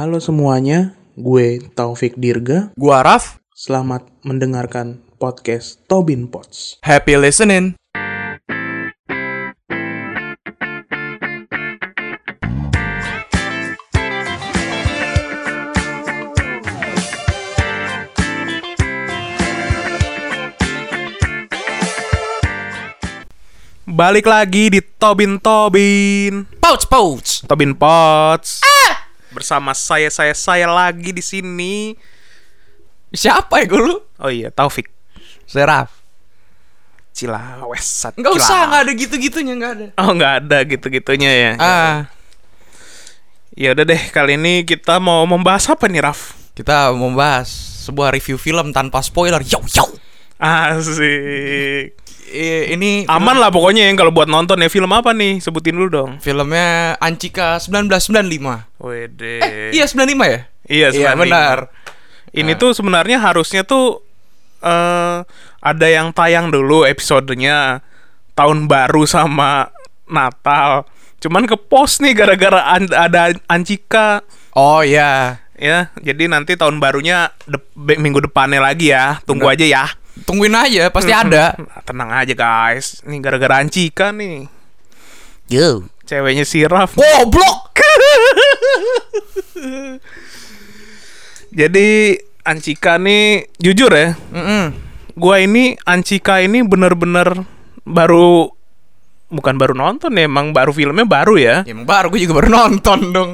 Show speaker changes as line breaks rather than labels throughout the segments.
Halo semuanya, gue Taufik Dirga.
Gua Raf,
Selamat mendengarkan podcast Tobin Pots.
happy listening. Balik lagi di Tobin Tobin.
Pouch pouch.
Tobin Pots.
Ah!
Bersama saya saya saya lagi di sini.
Siapa ya gue lu?
Oh iya, Taufik
Seraf.
Cilawes.
Enggak usah,
Cilawes.
enggak ada gitu-gitunya, enggak ada.
Oh nggak ada gitu-gitunya ya.
Ah,
Ya udah deh kali ini kita mau membahas apa nih Raf?
kita mau bahas sebuah review film tanpa spoiler. Yo yo.
Asik.
Eh, ini
Aman lah pokoknya yang kalau buat nonton ya film apa nih? Sebutin dulu dong.
filmnya Ancika 1995.
Wede.
Eh, iya 95 ya?
Iya,
Iya,
95.
benar.
Ini tuh sebenarnya harusnya tuh eh ada yang tayang dulu episodenya tahun baru sama Natal. Cuman ke pos nih gara-gara an- ada Ancika
Oh iya.
ya. Jadi nanti tahun barunya dep- minggu depannya lagi ya. Tunggu aja ya.
Tungguin aja, pasti ada.
Nah, tenang aja guys, ini gara-gara Ancika nih,
Yo.
ceweknya si Raf.
Goblok.
Jadi Ancika nih jujur ya,
Mm-mm.
gua ini Ancika ini bener-bener baru bukan baru nonton ya, emang baru filmnya baru ya.
Ya, emang baru gue juga baru nonton dong.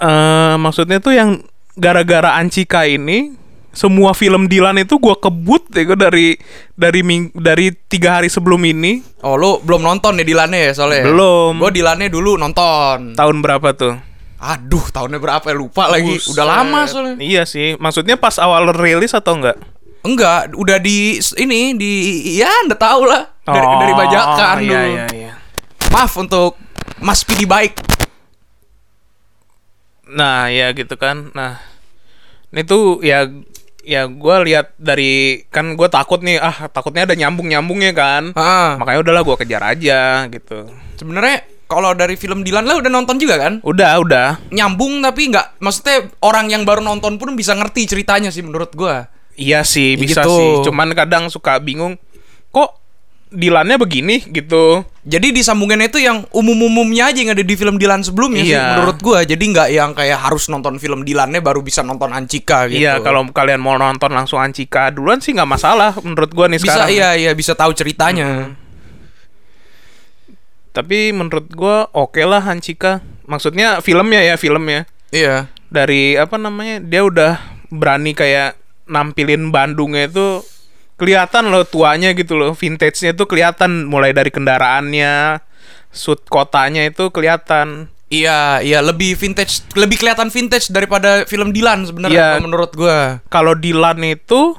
Eh maksudnya tuh yang gara-gara Ancika ini semua film Dilan itu gua kebut ya gua dari dari ming- dari tiga hari sebelum ini
Oh, lu belum nonton ya Dilannya ya soalnya?
Belum.
Gue Dilannya dulu nonton.
tahun berapa tuh?
Aduh, tahunnya berapa ya? Lupa lagi.
Buset.
Udah lama soalnya.
Iya sih, maksudnya pas awal rilis atau enggak?
Enggak, udah di ini di ya Anda tahu lah dari
Oh,
dari bajakan
iya,
dulu.
iya, iya.
Maaf untuk Mas Pidi baik.
Nah, ya gitu kan. Nah, ini tuh ya ya gue lihat dari kan gue takut nih ah takutnya ada nyambung nyambungnya kan
Ah,
makanya udahlah gue kejar aja gitu
sebenarnya kalau dari film Dilan lah udah nonton juga kan?
udah udah
Nyambung tapi nggak maksudnya orang yang baru nonton pun bisa ngerti ceritanya sih menurut gua.
iya sih
Ya
bisa
gitu.
sih cuman kadang suka bingung kok dilannya begini gitu
Jadi disambungannya itu yang umum-umumnya aja yang ada di film Dilan sebelumnya sih
Iya.
menurut gua. Jadi nggak yang kayak harus nonton film Dilannya baru bisa nonton Ancika gitu.
iya kalau kalian mau nonton langsung Ancika duluan sih nggak masalah menurut gue nih
bisa
sekarang Hmm.
iya iya bisa tahu ceritanya.
tapi menurut gua oke lah Hancika maksudnya filmnya ya filmnya
Iya.
dari apa namanya dia udah berani kayak nampilin Bandungnya itu kelihatan loh tuanya gitu loh vintage-nya itu kelihatan mulai dari kendaraannya sud kotanya itu kelihatan
Iya, iya lebih vintage, lebih kelihatan vintage daripada film Dilan sebenarnya
Iya.
kalau menurut gua.
kalau Dilan itu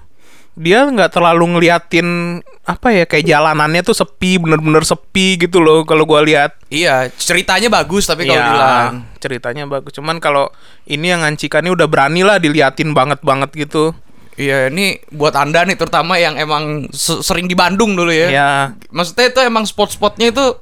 dia nggak terlalu ngeliatin apa ya kayak jalanannya tuh sepi bener-bener sepi gitu loh kalau gua lihat
Iya, ceritanya bagus tapi kalau
Iya,
Dilan.
ceritanya bagus cuman kalau ini yang Ancika ini udah berani lah diliatin banget banget gitu
Iya, ini buat Anda nih terutama yang emang se- sering di Bandung dulu ya.
ya
Maksudnya itu emang spot-spotnya itu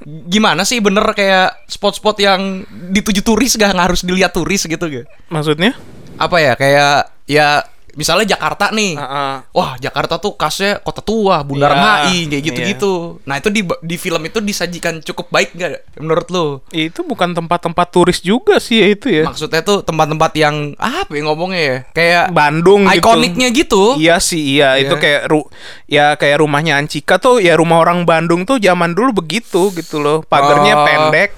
gimana sih bener kayak spot-spot yang dituju turis gak nggak harus dilihat turis gitu gak?
maksudnya
Apa ya kayak ya misalnya Jakarta nih.
Heeh.
Wah Jakarta tuh khasnya kota tua, Bundaran
Iya.
HI kayak gitu-gitu. Nah itu di di film itu disajikan cukup baik nggak menurut lo?
itu bukan tempat-tempat turis juga sih ya itu ya
Maksudnya tuh tempat-tempat yang apa ya ngomongnya ya? Kayak
Bandung gitu.
ikoniknya gitu.
iya sih iya itu kayak ru ya kayak rumahnya Ancika tuh ya rumah orang Bandung tuh zaman dulu begitu gitu loh pagarnya
Oh.
pendek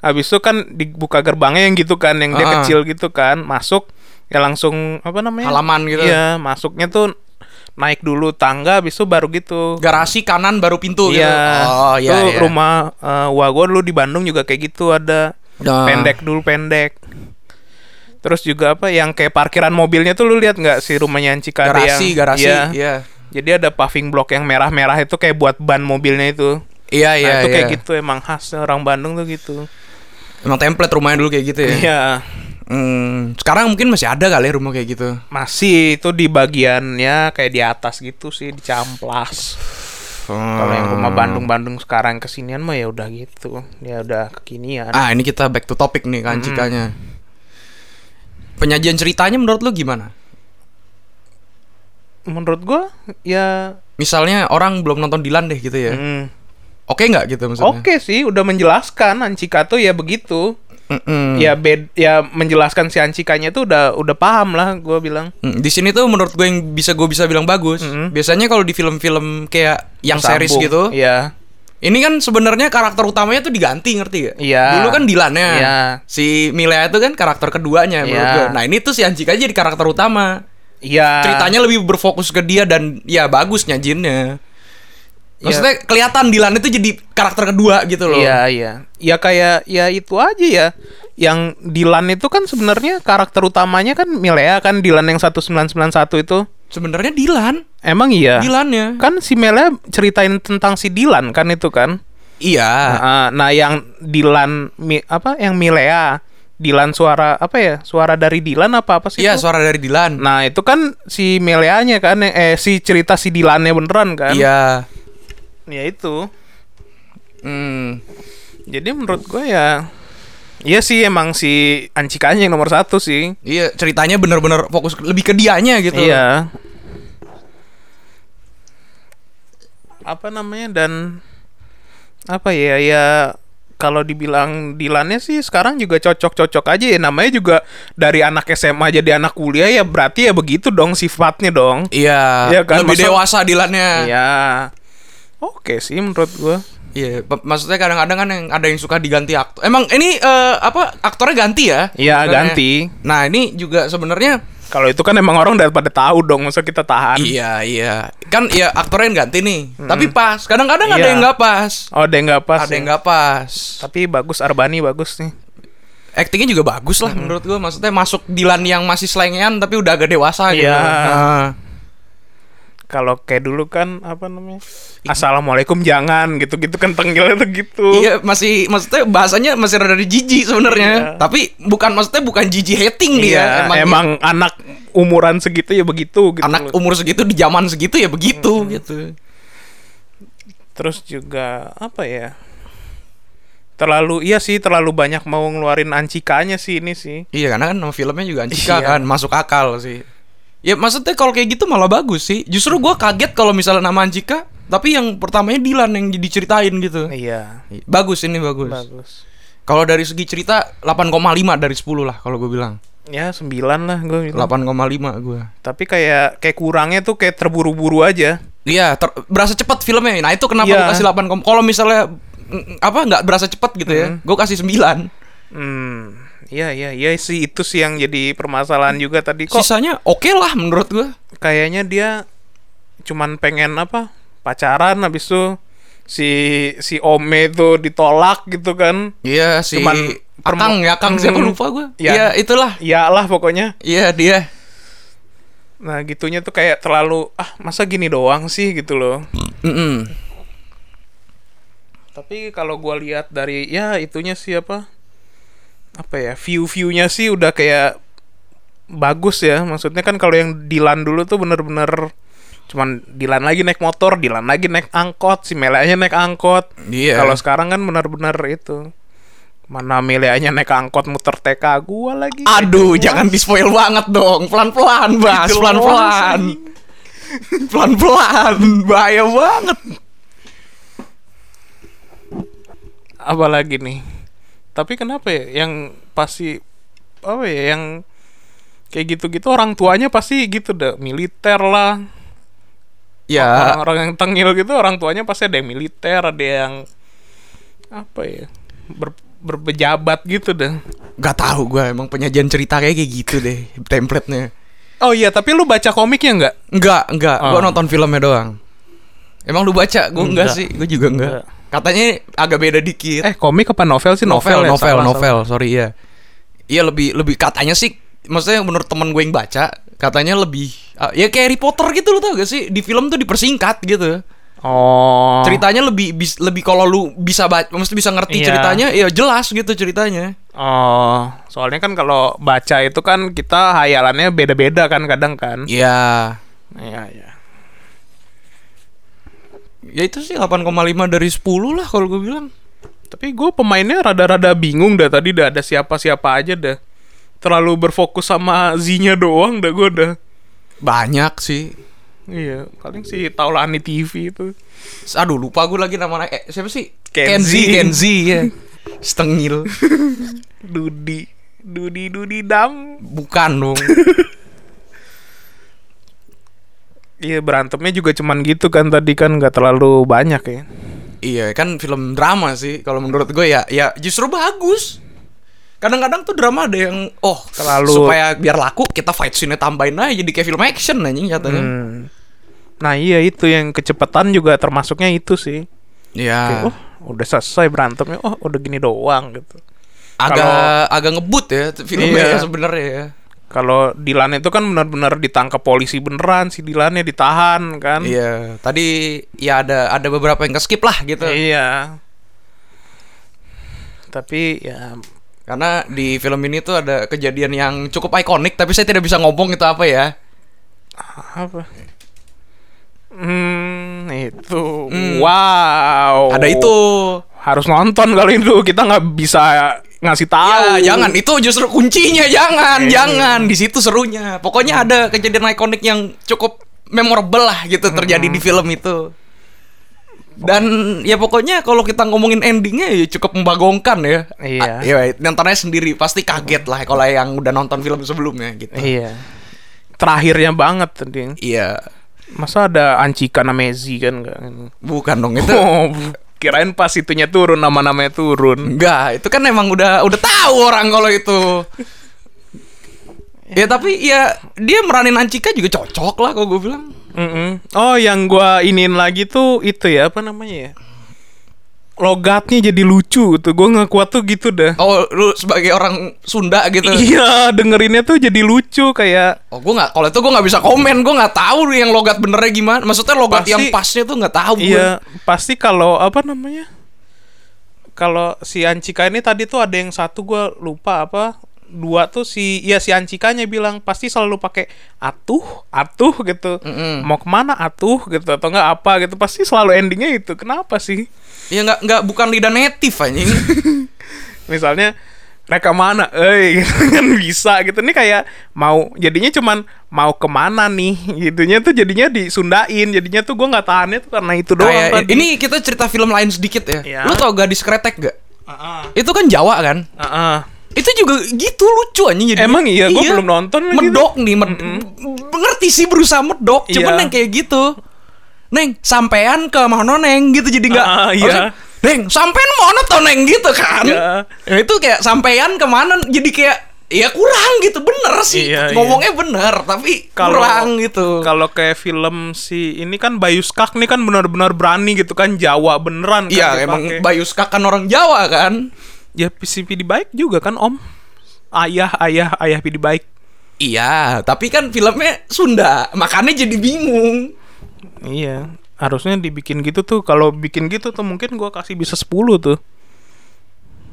habis itu kan dibuka gerbangnya yang gitu kan yang dia
Ah.
kecil gitu kan masuk ya langsung apa namanya
Halaman gitu.
iya masuknya tuh naik dulu tangga habis itu baru gitu
Garasi kanan baru pintu gitu.
Iya.
Oh iya.
Tuh
iya.
rumah eh, wah gua dulu di Bandung juga kayak gitu ada
Nah.
pendek dulu pendek. Terus juga apa yang kayak parkiran mobilnya tuh lu lihat nggak si rumahnya Ancika ada
garasi,
yang-
garasi.
kan Iya.
Iya.
Jadi ada paving block yang merah-merah itu kayak buat ban mobilnya itu. Nah,
Iya iya.
itu kayak
iya.
gitu emang khas orang Bandung tuh gitu.
Emang template rumahnya dulu kayak gitu ya.
Iya.
Hmm, sekarang mungkin masih ada kali ya rumah kayak gitu.
Masih itu di bagiannya kayak di atas gitu sih dicamplas. Kalau yang
Hmm.
rumah Bandung-Bandung sekarang kesinian mah ya udah gitu. Ya udah kekinian. Hmm.
Ah ini kita back to topic nih kan cikanya. Penyajian ceritanya menurut lu gimana?
Menurut gua ya
Misalnya orang belum nonton Dilan deh gitu ya.
mm,
Oke nggak gitu maksudnya?
oke sih udah menjelaskan Ancika tuh ya begitu.
Mm-mm.
Ya bed ya menjelaskan si Ancikanya tuh udah udah paham lah gua bilang.
Mm, Di sini tuh menurut gue yang bisa gue bisa bilang bagus. Biasanya kalau di film-film kayak yang series
Sambung.
gitu,
Iya.
ini kan sebenarnya karakter utamanya tuh diganti ngerti gak?
Iya.
Dulu kan Dilannya,
Iya.
si Milea itu kan karakter keduanya menurut
Iya.
gue. Nah ini tuh si Anjika jadi karakter utama.
Iya.
Ceritanya lebih berfokus ke dia dan ya bagus nyajinnya. Maksudnya kelihatan Dilan itu jadi karakter kedua gitu loh.
Iya iya. Ya kayak ya itu aja ya. Yang Dilan itu kan sebenarnya karakter utamanya kan Milea kan Dilan yang 1991 itu.
Sebenarnya Dilan,
Emang iya.
Dilannya.
Kan si Milea ceritain tentang si Dilan kan itu kan.
Iya.
Ah, nah yang Dilan Mi- apa yang Milea Dilan suara apa ya? Suara dari Dilan apa apa sih?
Iya
itu?
suara dari Dilan.
Nah itu kan si Mileanya kan yang- eh si cerita si Dilannya beneran kan?
Iya.
Ya itu.
Hmm.
Jadi menurut gue ya Iya sih emang si Ancikanya yang nomor satu sih
Iya ceritanya bener-bener fokus ke- lebih ke dianya gitu.
Iya Apa namanya dan Apa ya ya kalau dibilang Dilannya sih sekarang juga cocok-cocok aja ya namanya juga dari anak SMA jadi anak kuliah ya berarti ya begitu dong sifatnya dong.
Iya.
Iya kan,
lebih
masa-
dewasa Dilannya.
Iya. Oke sih menurut gua.
Iya, mak- maksudnya kadang-kadang kan yang ada yang suka diganti aktor. Emang ini eh, apa aktornya ganti ya?
Iya,
Sebenarnya.
ganti.
Nah, ini juga sebenarnya
Kalau itu kan emang orang udah pada tahu dong masa kita tahan.
iya iya. Kan ya aktornya yang ganti nih. Tapi pas. Kadang-kadang ada
Hmm. Iya.
yang nggak pas.
Oh, ada yang nggak pas.
Ada
ya?
yang nggak pas.
Tapi bagus Arbani bagus nih.
Actingnya juga bagus
Hmm.
lah menurut gua. Maksudnya masuk Dilan yang masih slengean tapi udah agak dewasa gitu.
Iya.
Nah,
Kalau kayak dulu kan apa namanya? Assalamualaikum jangan gitu-gitu kan tenggelnya tuh gitu.
Iya masih maksudnya bahasanya masih rada jijik sebenarnya. Tapi bukan maksudnya bukan jijik hating dia.
Iya, emang, anak umuran segitu ya begitu gitu. Hmm.
anak
loh.
umur segitu di zaman segitu ya begitu gitu.
Terus juga apa ya? Terlalu iya sih terlalu banyak mau ngeluarin ancikanya sih ini sih.
Iya karena kan nama filmnya juga Anjika
Iya.
kan masuk akal sih. Ya maksudnya kalau kayak gitu malah bagus sih. Justru gua kaget kalau misalnya nama Anjika, tapi yang pertamanya Dilan yang diceritain gitu.
Iya,
Bagus ini bagus.
bagus.
Kalau dari segi cerita 8,5 dari 10 lah kalau gue bilang.
Ya 9 lah gue
8,5 gua.
Tapi kayak kayak kurangnya tuh kayak terburu-buru aja.
Iya, ter- berasa cepat filmnya. Nah, itu kenapa
Iya.
gue kasih 8 kom- Kalau misalnya mm, apa nggak berasa cepat gitu ya.
Mm-hmm.
Gue kasih 9.
Hmm. Iya, iya, iya sih itu sih yang jadi permasalahan juga tadi kok.
Sisanya oke lah menurut gue.
kayaknya dia cuman pengen apa? Pacaran habis itu si si Ome itu ditolak gitu kan.
Iya, si
Cuman
Akang
permo-
ya, Akang siapa
Mm.
lupa gue.
Iya.
Iya, itulah.
Iyalah pokoknya.
Iya, dia.
Nah, gitunya tuh kayak terlalu ah, masa gini doang sih gitu loh.
Mm-mm.
Tapi kalau gua lihat dari ya itunya sih apa? Apa ya? View-viewnya sih udah kayak bagus ya. Maksudnya kan kalau yang Dilan dulu tuh bener-bener cuman Dilan lagi naik motor, Dilan lagi naik angkot, si Melanya naik angkot.
Iya.
Kalau sekarang kan benar-benar itu. Mana Melianya naik angkot muter TK gua lagi.
Aduh, jangan di spoil banget dong. Pelan-pelan, Bas.
Jelas,
Pelan-pelan.
anjing.
Pelan-pelan. Bahaya banget.
Apalagi nih. Tapi kenapa ya yang pasti apa ya yang kayak gitu-gitu orang tuanya pasti gitu deh militer lah
Ya,
orang-orang yang tengil gitu orang tuanya pasti ada yang militer ada yang apa ya ber- berpejabat gitu deh
nggak tahu gue emang penyajian cerita kayak gitu deh template-nya.
oh iya tapi lu baca komiknya nggak
Enggak, enggak. Gua
Oh.
nonton filmnya doang. Emang lu baca? Gua
Enggak.
enggak, sih. Gua juga enggak.
Enggak.
Katanya agak beda dikit.
eh komik apa novel sih novel ya?
novel,
Salah,
novel. Sorry ya. Iya lebih lebih katanya sih maksudnya menurut temen gue yang baca katanya lebih ah, ya kayak Harry Potter gitu lu tau gak sih di film tuh dipersingkat gitu
salah. oh
ceritanya lebih bis- lebih kalau lu bisa baca mesti bisa ngerti
Iya.
ceritanya ya jelas gitu ceritanya
Oh, soalnya kan kalau baca itu kan kita hayalannya beda-beda kan kadang kan.
Iya
Iya, iya.
ya itu sih 8,5 dari 10 lah kalau gue bilang
Tapi gue pemainnya rada-rada bingung dah tadi dah ada siapa-siapa aja dah. terlalu berfokus sama Z-nya doang dah gue udah
Banyak sih.
iya paling si Taulani TV itu
Aduh lupa gue lagi nama eh, siapa sih?
Kenzi.
Kenzi, Kenzi ya. Stengil.
Dudi Dudi Dudi Dam
Bukan dong.
iya berantemnya juga cuman gitu kan tadi kan nggak terlalu banyak ya
iya, kan film drama sih kalau menurut gue ya ya justru bagus. Kadang-kadang tuh drama ada yang oh
Terlalu-
supaya biar laku kita fight scene tambahin aja jadi kayak film action anjing katanya.
Hmm. nah iya itu yang kecepatan juga termasuknya itu sih
Iya.
oh udah selesai berantemnya oh udah gini doang gitu
agak
kalau-
agak ngebut ya filmnya
Iya.
ya sebenarnya ya.
kalau Dilan itu kan benar-benar ditangkap polisi beneran si Dilannya ditahan kan
Iya, tadi ya ada ada beberapa yang keskip lah gitu.
Iya. Tapi ya
Karena di film ini tuh ada kejadian yang cukup ikonik tapi saya tidak bisa ngomong itu apa ya.
apa? Hmm, itu. Wow.
Hmm. Ada itu.
Harus nonton kali itu. Kita nggak bisa ngasih tahu.
Ya, jangan itu justru kuncinya jangan, jangan di situ serunya.
Hmm.
Pokoknya ada kejadian ikonik yang cukup memorable lah gitu terjadi
Hmm.
di film itu. Dan ya pokoknya kalau kita ngomongin endingnya ya cukup membagongkan ya.
Iya.
A- ya nontonnya sendiri pasti kaget lah kalau yang udah nonton film sebelumnya gitu.
Iya. Terakhirnya banget tadi.
Iya.
Masa ada Ancika nama Ezi kan nggak?
Bukan dong itu.
Oh, kirain pas itunya turun nama-namanya turun.
Enggak, itu kan emang udah udah tahu orang kalau itu. ya tapi ya dia meranin Ancika juga cocok lah kalau gue bilang.
Mm-mm. Oh, yang gua iniin lagi tuh itu ya apa namanya ya? Logatnya jadi lucu tuh. Gua nggak kuat tuh gitu dah.
Oh, lu sebagai orang Sunda gitu.
Iya, dengerinnya tuh jadi lucu kayak
Oh, gue nggak kalau itu gue nggak bisa komen, gue nggak tahu yang logat benernya gimana. Maksudnya logat
Pasti-
yang pasnya tuh nggak tahu gue.
iya pasti kalau apa namanya? Kalau si Ancika ini tadi tuh ada yang satu gua lupa apa dua tuh si ya si Ancikanya bilang pasti selalu pakai atuh atuh gitu
Mm-mm.
mau kemana atuh gitu atau enggak apa gitu pasti selalu endingnya itu kenapa sih
Ya nggak nggak bukan lidah native anjing.
misalnya mereka mana, eh gitu kan bisa gitu nih kayak mau jadinya cuman mau kemana nih gitunya tuh jadinya disundain jadinya tuh gua nggak tahannya tuh karena itu doang
Kayak
tadi.
ini kita cerita film lain sedikit ya.
Iya.
Lu tau gadis kretek gak?
Ah,
Itu kan Jawa kan?
ah, ah, ah.
Itu juga gitu lucu anjing jadi.
Emang iya, gua belum nonton lagi
Medok nih, med ngerti sih berusaha medok, cuman
Iya.
yang kayak gitu. Neng, sampean ke mana Neng gitu jadi nggak
Ah, iya.
harusnya, Neng, sampean mana tuh Neng gitu kan.
Iya.
Ya, itu kayak sampean kemana jadi kayak ya kurang gitu bener sih
Iya, iya.
ngomongnya bener tapi
Kalau-
kurang gitu
kalau kayak film si ini kan Bayu Skak nih kan benar-benar berani gitu kan Jawa beneran kan
iya
dipakai.
emang Bayu Skak kan orang Jawa kan
ya PCPD baik juga kan Om ayah ayah ayah PD baik
iya tapi kan filmnya Sunda makanya jadi bingung
iya harusnya dibikin gitu tuh kalau bikin gitu tuh mungkin gua kasih bisa 10 tuh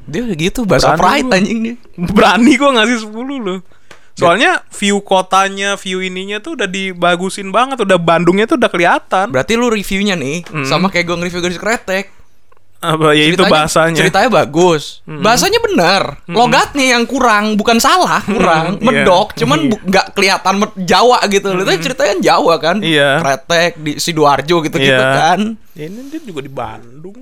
dia gitu bahasa
Berani
pride
lu.
anjing dia
berani gua ngasih 10 loh soalnya view kotanya view ininya tuh udah dibagusin banget udah Bandungnya tuh udah kelihatan
Berarti lu reviewnya nih sama kayak gue nge-review garis kretek.
apa ya Hmm. itu
Ceritanya-
bahasanya Hmm.
Ceritanya bagus. Bahasanya benar. Logatnya yang kurang, bukan salah, kurang,
Mm-mm, iya.
medok, cuman bu- nggak kelihatan med- Jawa gitu. Lu tuh ceritanya Jawa kan.
Hmm. Iya.
Kretek di Sidoarjo gitu-gitu
Iya.
kan.
Ya, ini dia juga di Bandung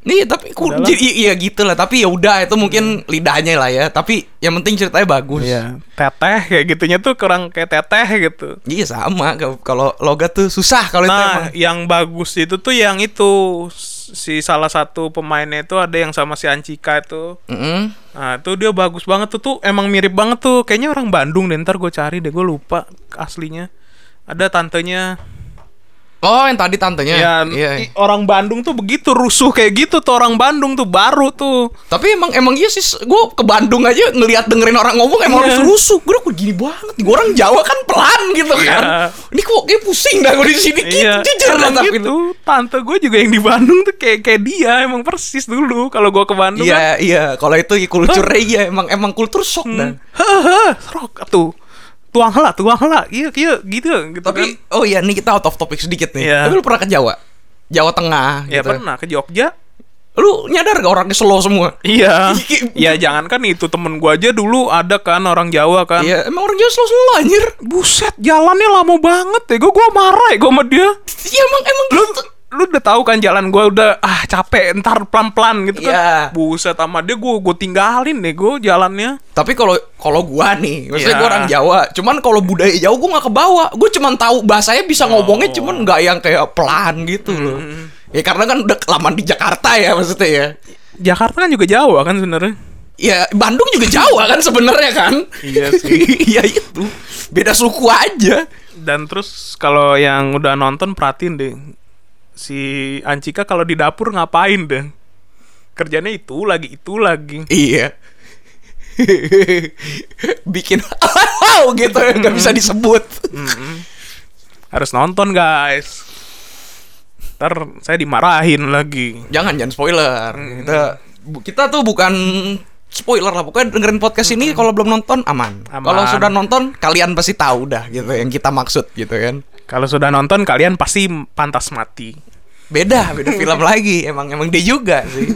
Nih, tapi ku,
Udahlah. Iya.
jadi iya gitu lah. Tapi ya udah itu mungkin lidahnya lah ya. Tapi yang penting ceritanya bagus.
teteh kayak gitunya tuh kurang kayak teteh gitu
Iya sama Kalau- kalau logat tuh susah kalau itu emang.
nah yang bagus itu tuh yang itu si salah satu pemainnya itu ada yang sama si Ancika itu
Mm-mm.
nah tuh dia bagus banget tuh tuh emang mirip banget tuh kayaknya orang Bandung deh ntar gue cari deh gue lupa aslinya ada tantenya
Oh, yang tadi tantenya.
ya
iya.
i- orang Bandung tuh begitu rusuh kayak gitu tuh orang Bandung tuh baru tuh
Tapi emang emang iya sih, gue ke Bandung aja ngelihat dengerin orang ngomong emang
Iya.
harus rusuh. Gue kok gini banget, gue orang Jawa kan pelan gitu kan.
Iya.
Ini kok kayak pusing dah gue di sini. Gitu, Jujur
karena
lah tapi
gitu tante gue juga yang di Bandung tuh kayak kayak dia emang persis dulu kalau gue ke Bandung kan Hmm.
Iya iya, kalau itu ya kultur iya emang emang kultur shock dah.
hehe serok tuh tuang lah tuang lah iya iya gitu gitu
Tapi
kan.
oh iya nih kita out of topic sedikit nih.
Iya.
Tapi lu pernah ke Jawa? Jawa Tengah
ya
gitu.
pernah ke Jogja
Lu nyadar gak orangnya slow semua?
Iya. ya jangankan itu temen gua aja dulu ada kan orang Jawa kan.
Iya, emang orang Jawa slow slow anjir.
Buset, jalannya lama banget ya. Gua gua marah ya gua sama dia.
Iya emang emang
Lu
gitu.
lu udah tahu kan jalan gua udah ah capek ntar pelan-pelan gitu kan.
Iya.
Buset sama dia gua gua tinggalin deh gua jalannya.
Tapi kalau kalau gua nih, maksudnya
Iya.
gua orang Jawa. Cuman kalau budaya Jawa gua nggak kebawa. Gua cuman tahu bahasanya bisa
Oh.
ngomongnya cuman nggak yang kayak pelan gitu loh.
Hmm,
Ya karena kan udah kelamaan di Jakarta ya maksudnya ya.
Jakarta kan juga Jawa kan sebenarnya.
Ya Bandung juga Jawa kan sebenarnya kan.
Iya sih.
Iya itu. Beda suku aja.
Dan terus kalau yang udah nonton perhatiin deh si Ancika kalau di dapur ngapain deh? Kerjanya itu lagi itu lagi.
Iya. Bikin gitu nggak
Hmm.
bisa disebut.
Harus nonton guys. Ntar saya dimarahin lagi.
jangan jangan spoiler kita bu- kita tuh bukan spoiler lah pokoknya dengerin podcast ini kalau belum nonton aman,
Aman.
kalau sudah nonton kalian pasti tahu dah gitu yang kita maksud gitu kan
Kalau sudah nonton kalian pasti pantas mati.
beda beda film lagi emang emang dia juga sih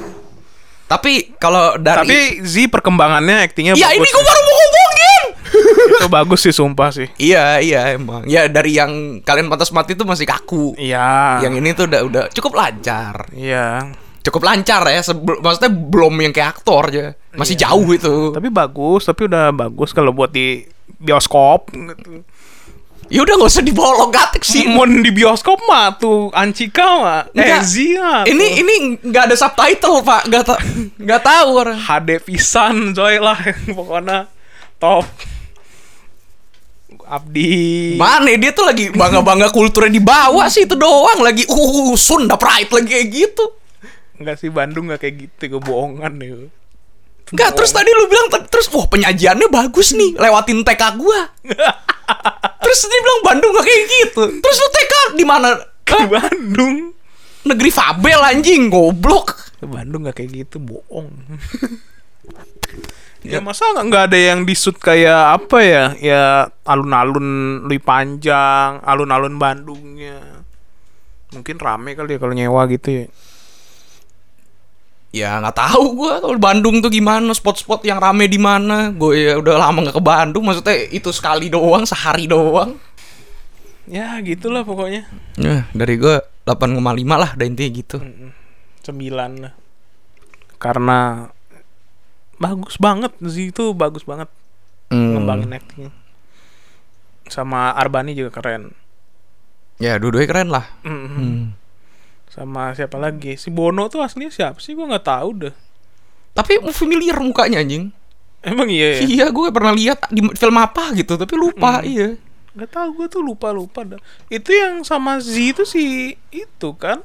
tapi kalau
Tapi
dari
Z perkembangannya aktingnya
ya
bagus.
ini gue
sih.
baru mau ngomongin
Itu bagus sih sumpah sih.
iya iya emang ya dari yang kalian pantas mati tuh masih kaku
Iya.
yang ini tuh udah udah cukup lancar
Iya.
cukup lancar ya sebel- maksudnya belum yang kayak aktor aja
Iya.
masih jauh itu
Tapi bagus, tapi udah bagus kalau buat di bioskop.
ya udah nggak usah dibawa logatik sih
Simon di bioskop mah tuh Ancika mah. Eh,
Enggak.
Zia.
ini ini nggak ada subtitle pak nggak ta nggak tahu orang
HD pisan coy lah pokoknya top. Abdi.
mana dia tuh lagi bangga bangga kulturnya dibawa sih itu doang lagi uh Sunda pride lagi kayak gitu
Enggak sih Bandung enggak kayak gitu kebohongan ya.
nggak terus tadi lu bilang ter- terus wah penyajiannya bagus nih lewatin TK gua terus dia bilang Bandung nggak kayak gitu terus lu TK di mana
Ke Bandung.
negeri Fabel anjing goblok
Ke Bandung nggak kayak gitu, bohong. ya masa nggak nggak ada yang disut kayak apa ya? Ya alun-alun Lui Panjang, alun-alun Bandungnya. Mungkin rame kali ya kalau nyewa gitu ya.
Ya nggak tahu gua kalau Bandung tuh gimana spot-spot yang rame di mana. Gue ya udah lama nggak ke Bandung. Maksudnya itu sekali doang, sehari doang.
Ya gitulah pokoknya.
Ya, dari gue 8,5 lah dan intinya gitu.
Sembilan lah. Karena bagus banget sih itu bagus banget
Hmm.
ngembangin actingnya. Sama Arbani juga keren.
Ya, dua-duanya keren lah.
Mm.
Hmm.
Sama siapa lagi? Si Bono tuh aslinya siapa sih? Gua nggak tahu dah.
Tapi familiar mukanya anjing.
Emang iya Hmm. ya?
Iya, gue pernah lihat di film apa gitu, tapi lupa iya.
Gak tau gue tuh lupa-lupa dah Itu yang sama Z itu si Itu kan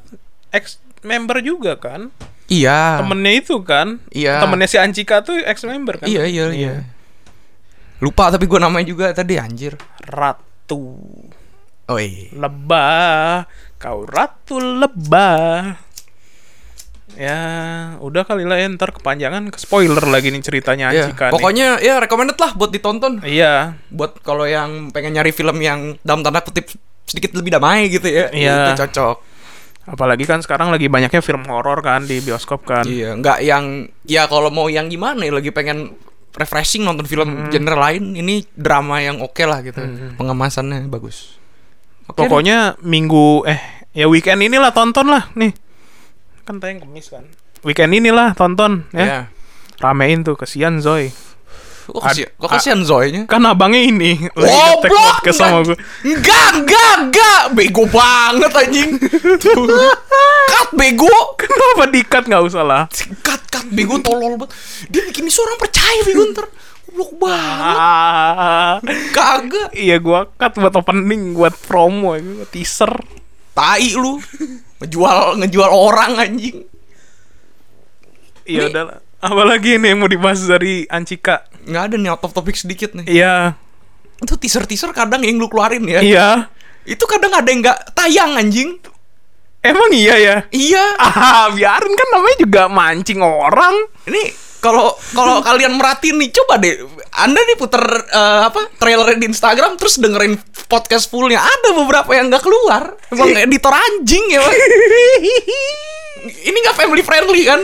Ex-member juga kan
Iya.
Temennya itu kan
Iya.
Temennya si Ancika tuh ex-member kan
Iya, iya, iya. Lupa tapi gue namanya juga tadi anjir.
Ratu
Oh iya.
Lebah Kau ratu lebah Ya udah kali lah ya Ntar kepanjangan ke spoiler lagi nih ceritanya
Iya,
Ancika nih.
Pokoknya ya recommended lah buat ditonton.
Iya
Buat kalau yang pengen nyari film yang dalam tanda kutip sedikit lebih damai gitu ya.
Iya.
Itu cocok.
Apalagi kan sekarang lagi banyaknya film horor kan Di bioskop kan
Iya, nggak yang ya kalau mau yang gimana ya lagi pengen refreshing nonton film
Hmm.
genre lain ini drama yang oke lah gitu. Pengemasannya bagus. Oke deh.
Pokoknya minggu eh ya weekend inilah tonton lah nih. Kan tayang Kamis kan. Weekend inilah tonton ya.
ya.
Ramein tuh kesian Zoy.
Kok kasihan, kok kasihan Zoe-nya?
Kan abangnya ini lagi ngetek
Goblok!
podcast sama gue.
Enggak, enggak, enggak. Bego banget anjing. Tuh. Cut bego.
Kenapa dikat nggak usah lah.
Cut, cut bego tolol banget. Dia bikin isu orang percaya bego ntar. Goblok banget.
Ah,
Kagak.
iya gua cut buat opening, buat promo, buat teaser.
Tai lu. Ngejual ngejual orang anjing.
Iya
Ini-
udahlah. Apalagi ini yang mau dibahas dari Ancika.
nggak ada nih out of topic sedikit nih
Iya.
itu teaser teaser kadang yang lu keluarin ya
Iya.
itu kadang ada yang nggak tayang anjing
Emang iya ya?
iya
Ah, biarin kan namanya juga mancing orang.
ini kalau kalau kalian merhatiin nih coba deh anda nih puter eh, apa trailer di Instagram terus dengerin podcast fullnya ada beberapa yang nggak keluar emang editor anjing ya Pak? ini nggak family friendly kan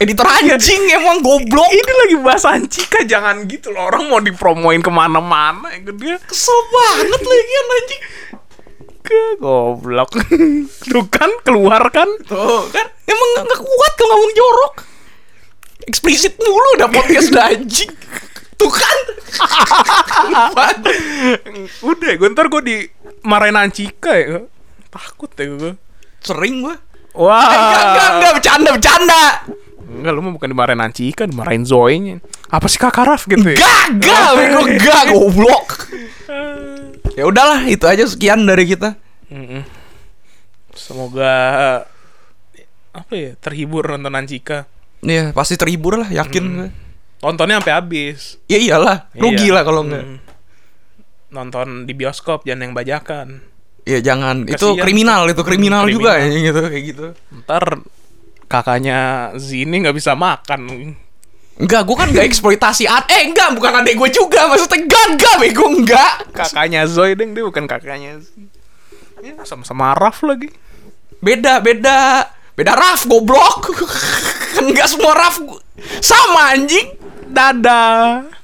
editor anjing emang goblok
Ini lagi bahas Ancika, jangan gitu loh. Orang mau dipromoin kemana-mana. Yang gede
kesel banget lagi kan anjing
ke goblok. Tuh kan, keluar kan.
tuh kan emang nggak- nggak kuat kalau ngomong jorok eksplisit mulu udah podcast udah anjing tuh kan
Udah, gue ntar gue dimarahin Ancika ya. Takut ya gue.
sering gua Eh,
Wah.
enggak enggak enggak bercanda bercanda
Enggak, lu mah bukan dimarahin Ancika, dimarahin Zoe-nya. Apa sih Kakak Raf gitu ya?
gagal bego gak goblok ya udahlah itu aja sekian dari kita
Semoga eh, apa ya terhibur nonton Ancika.
Iya pasti terhibur lah yakin
Hmm.
gua.
Tontonnya sampai habis.
ya iyalah rugi
Iya.
lah kalau enggak
Hmm. Nonton di bioskop jangan yang bajakan.
ya jangan itu
Kasian.
kriminal itu kriminal,
Hmm,
juga
kriminal.
ya gitu kayak gitu
Ntar kakaknya Zini nggak bisa makan.
Enggak, gue kan gak eksploitasi ad Eh, enggak, bukan adek gue juga Maksudnya enggak, enggak, bego, enggak
Kakaknya Zoe deng, dia bukan kakaknya. Z- Ya, sama-sama Raf lagi.
Beda, beda Beda raf, goblok Enggak semua raf Sama, anjing
Dadah.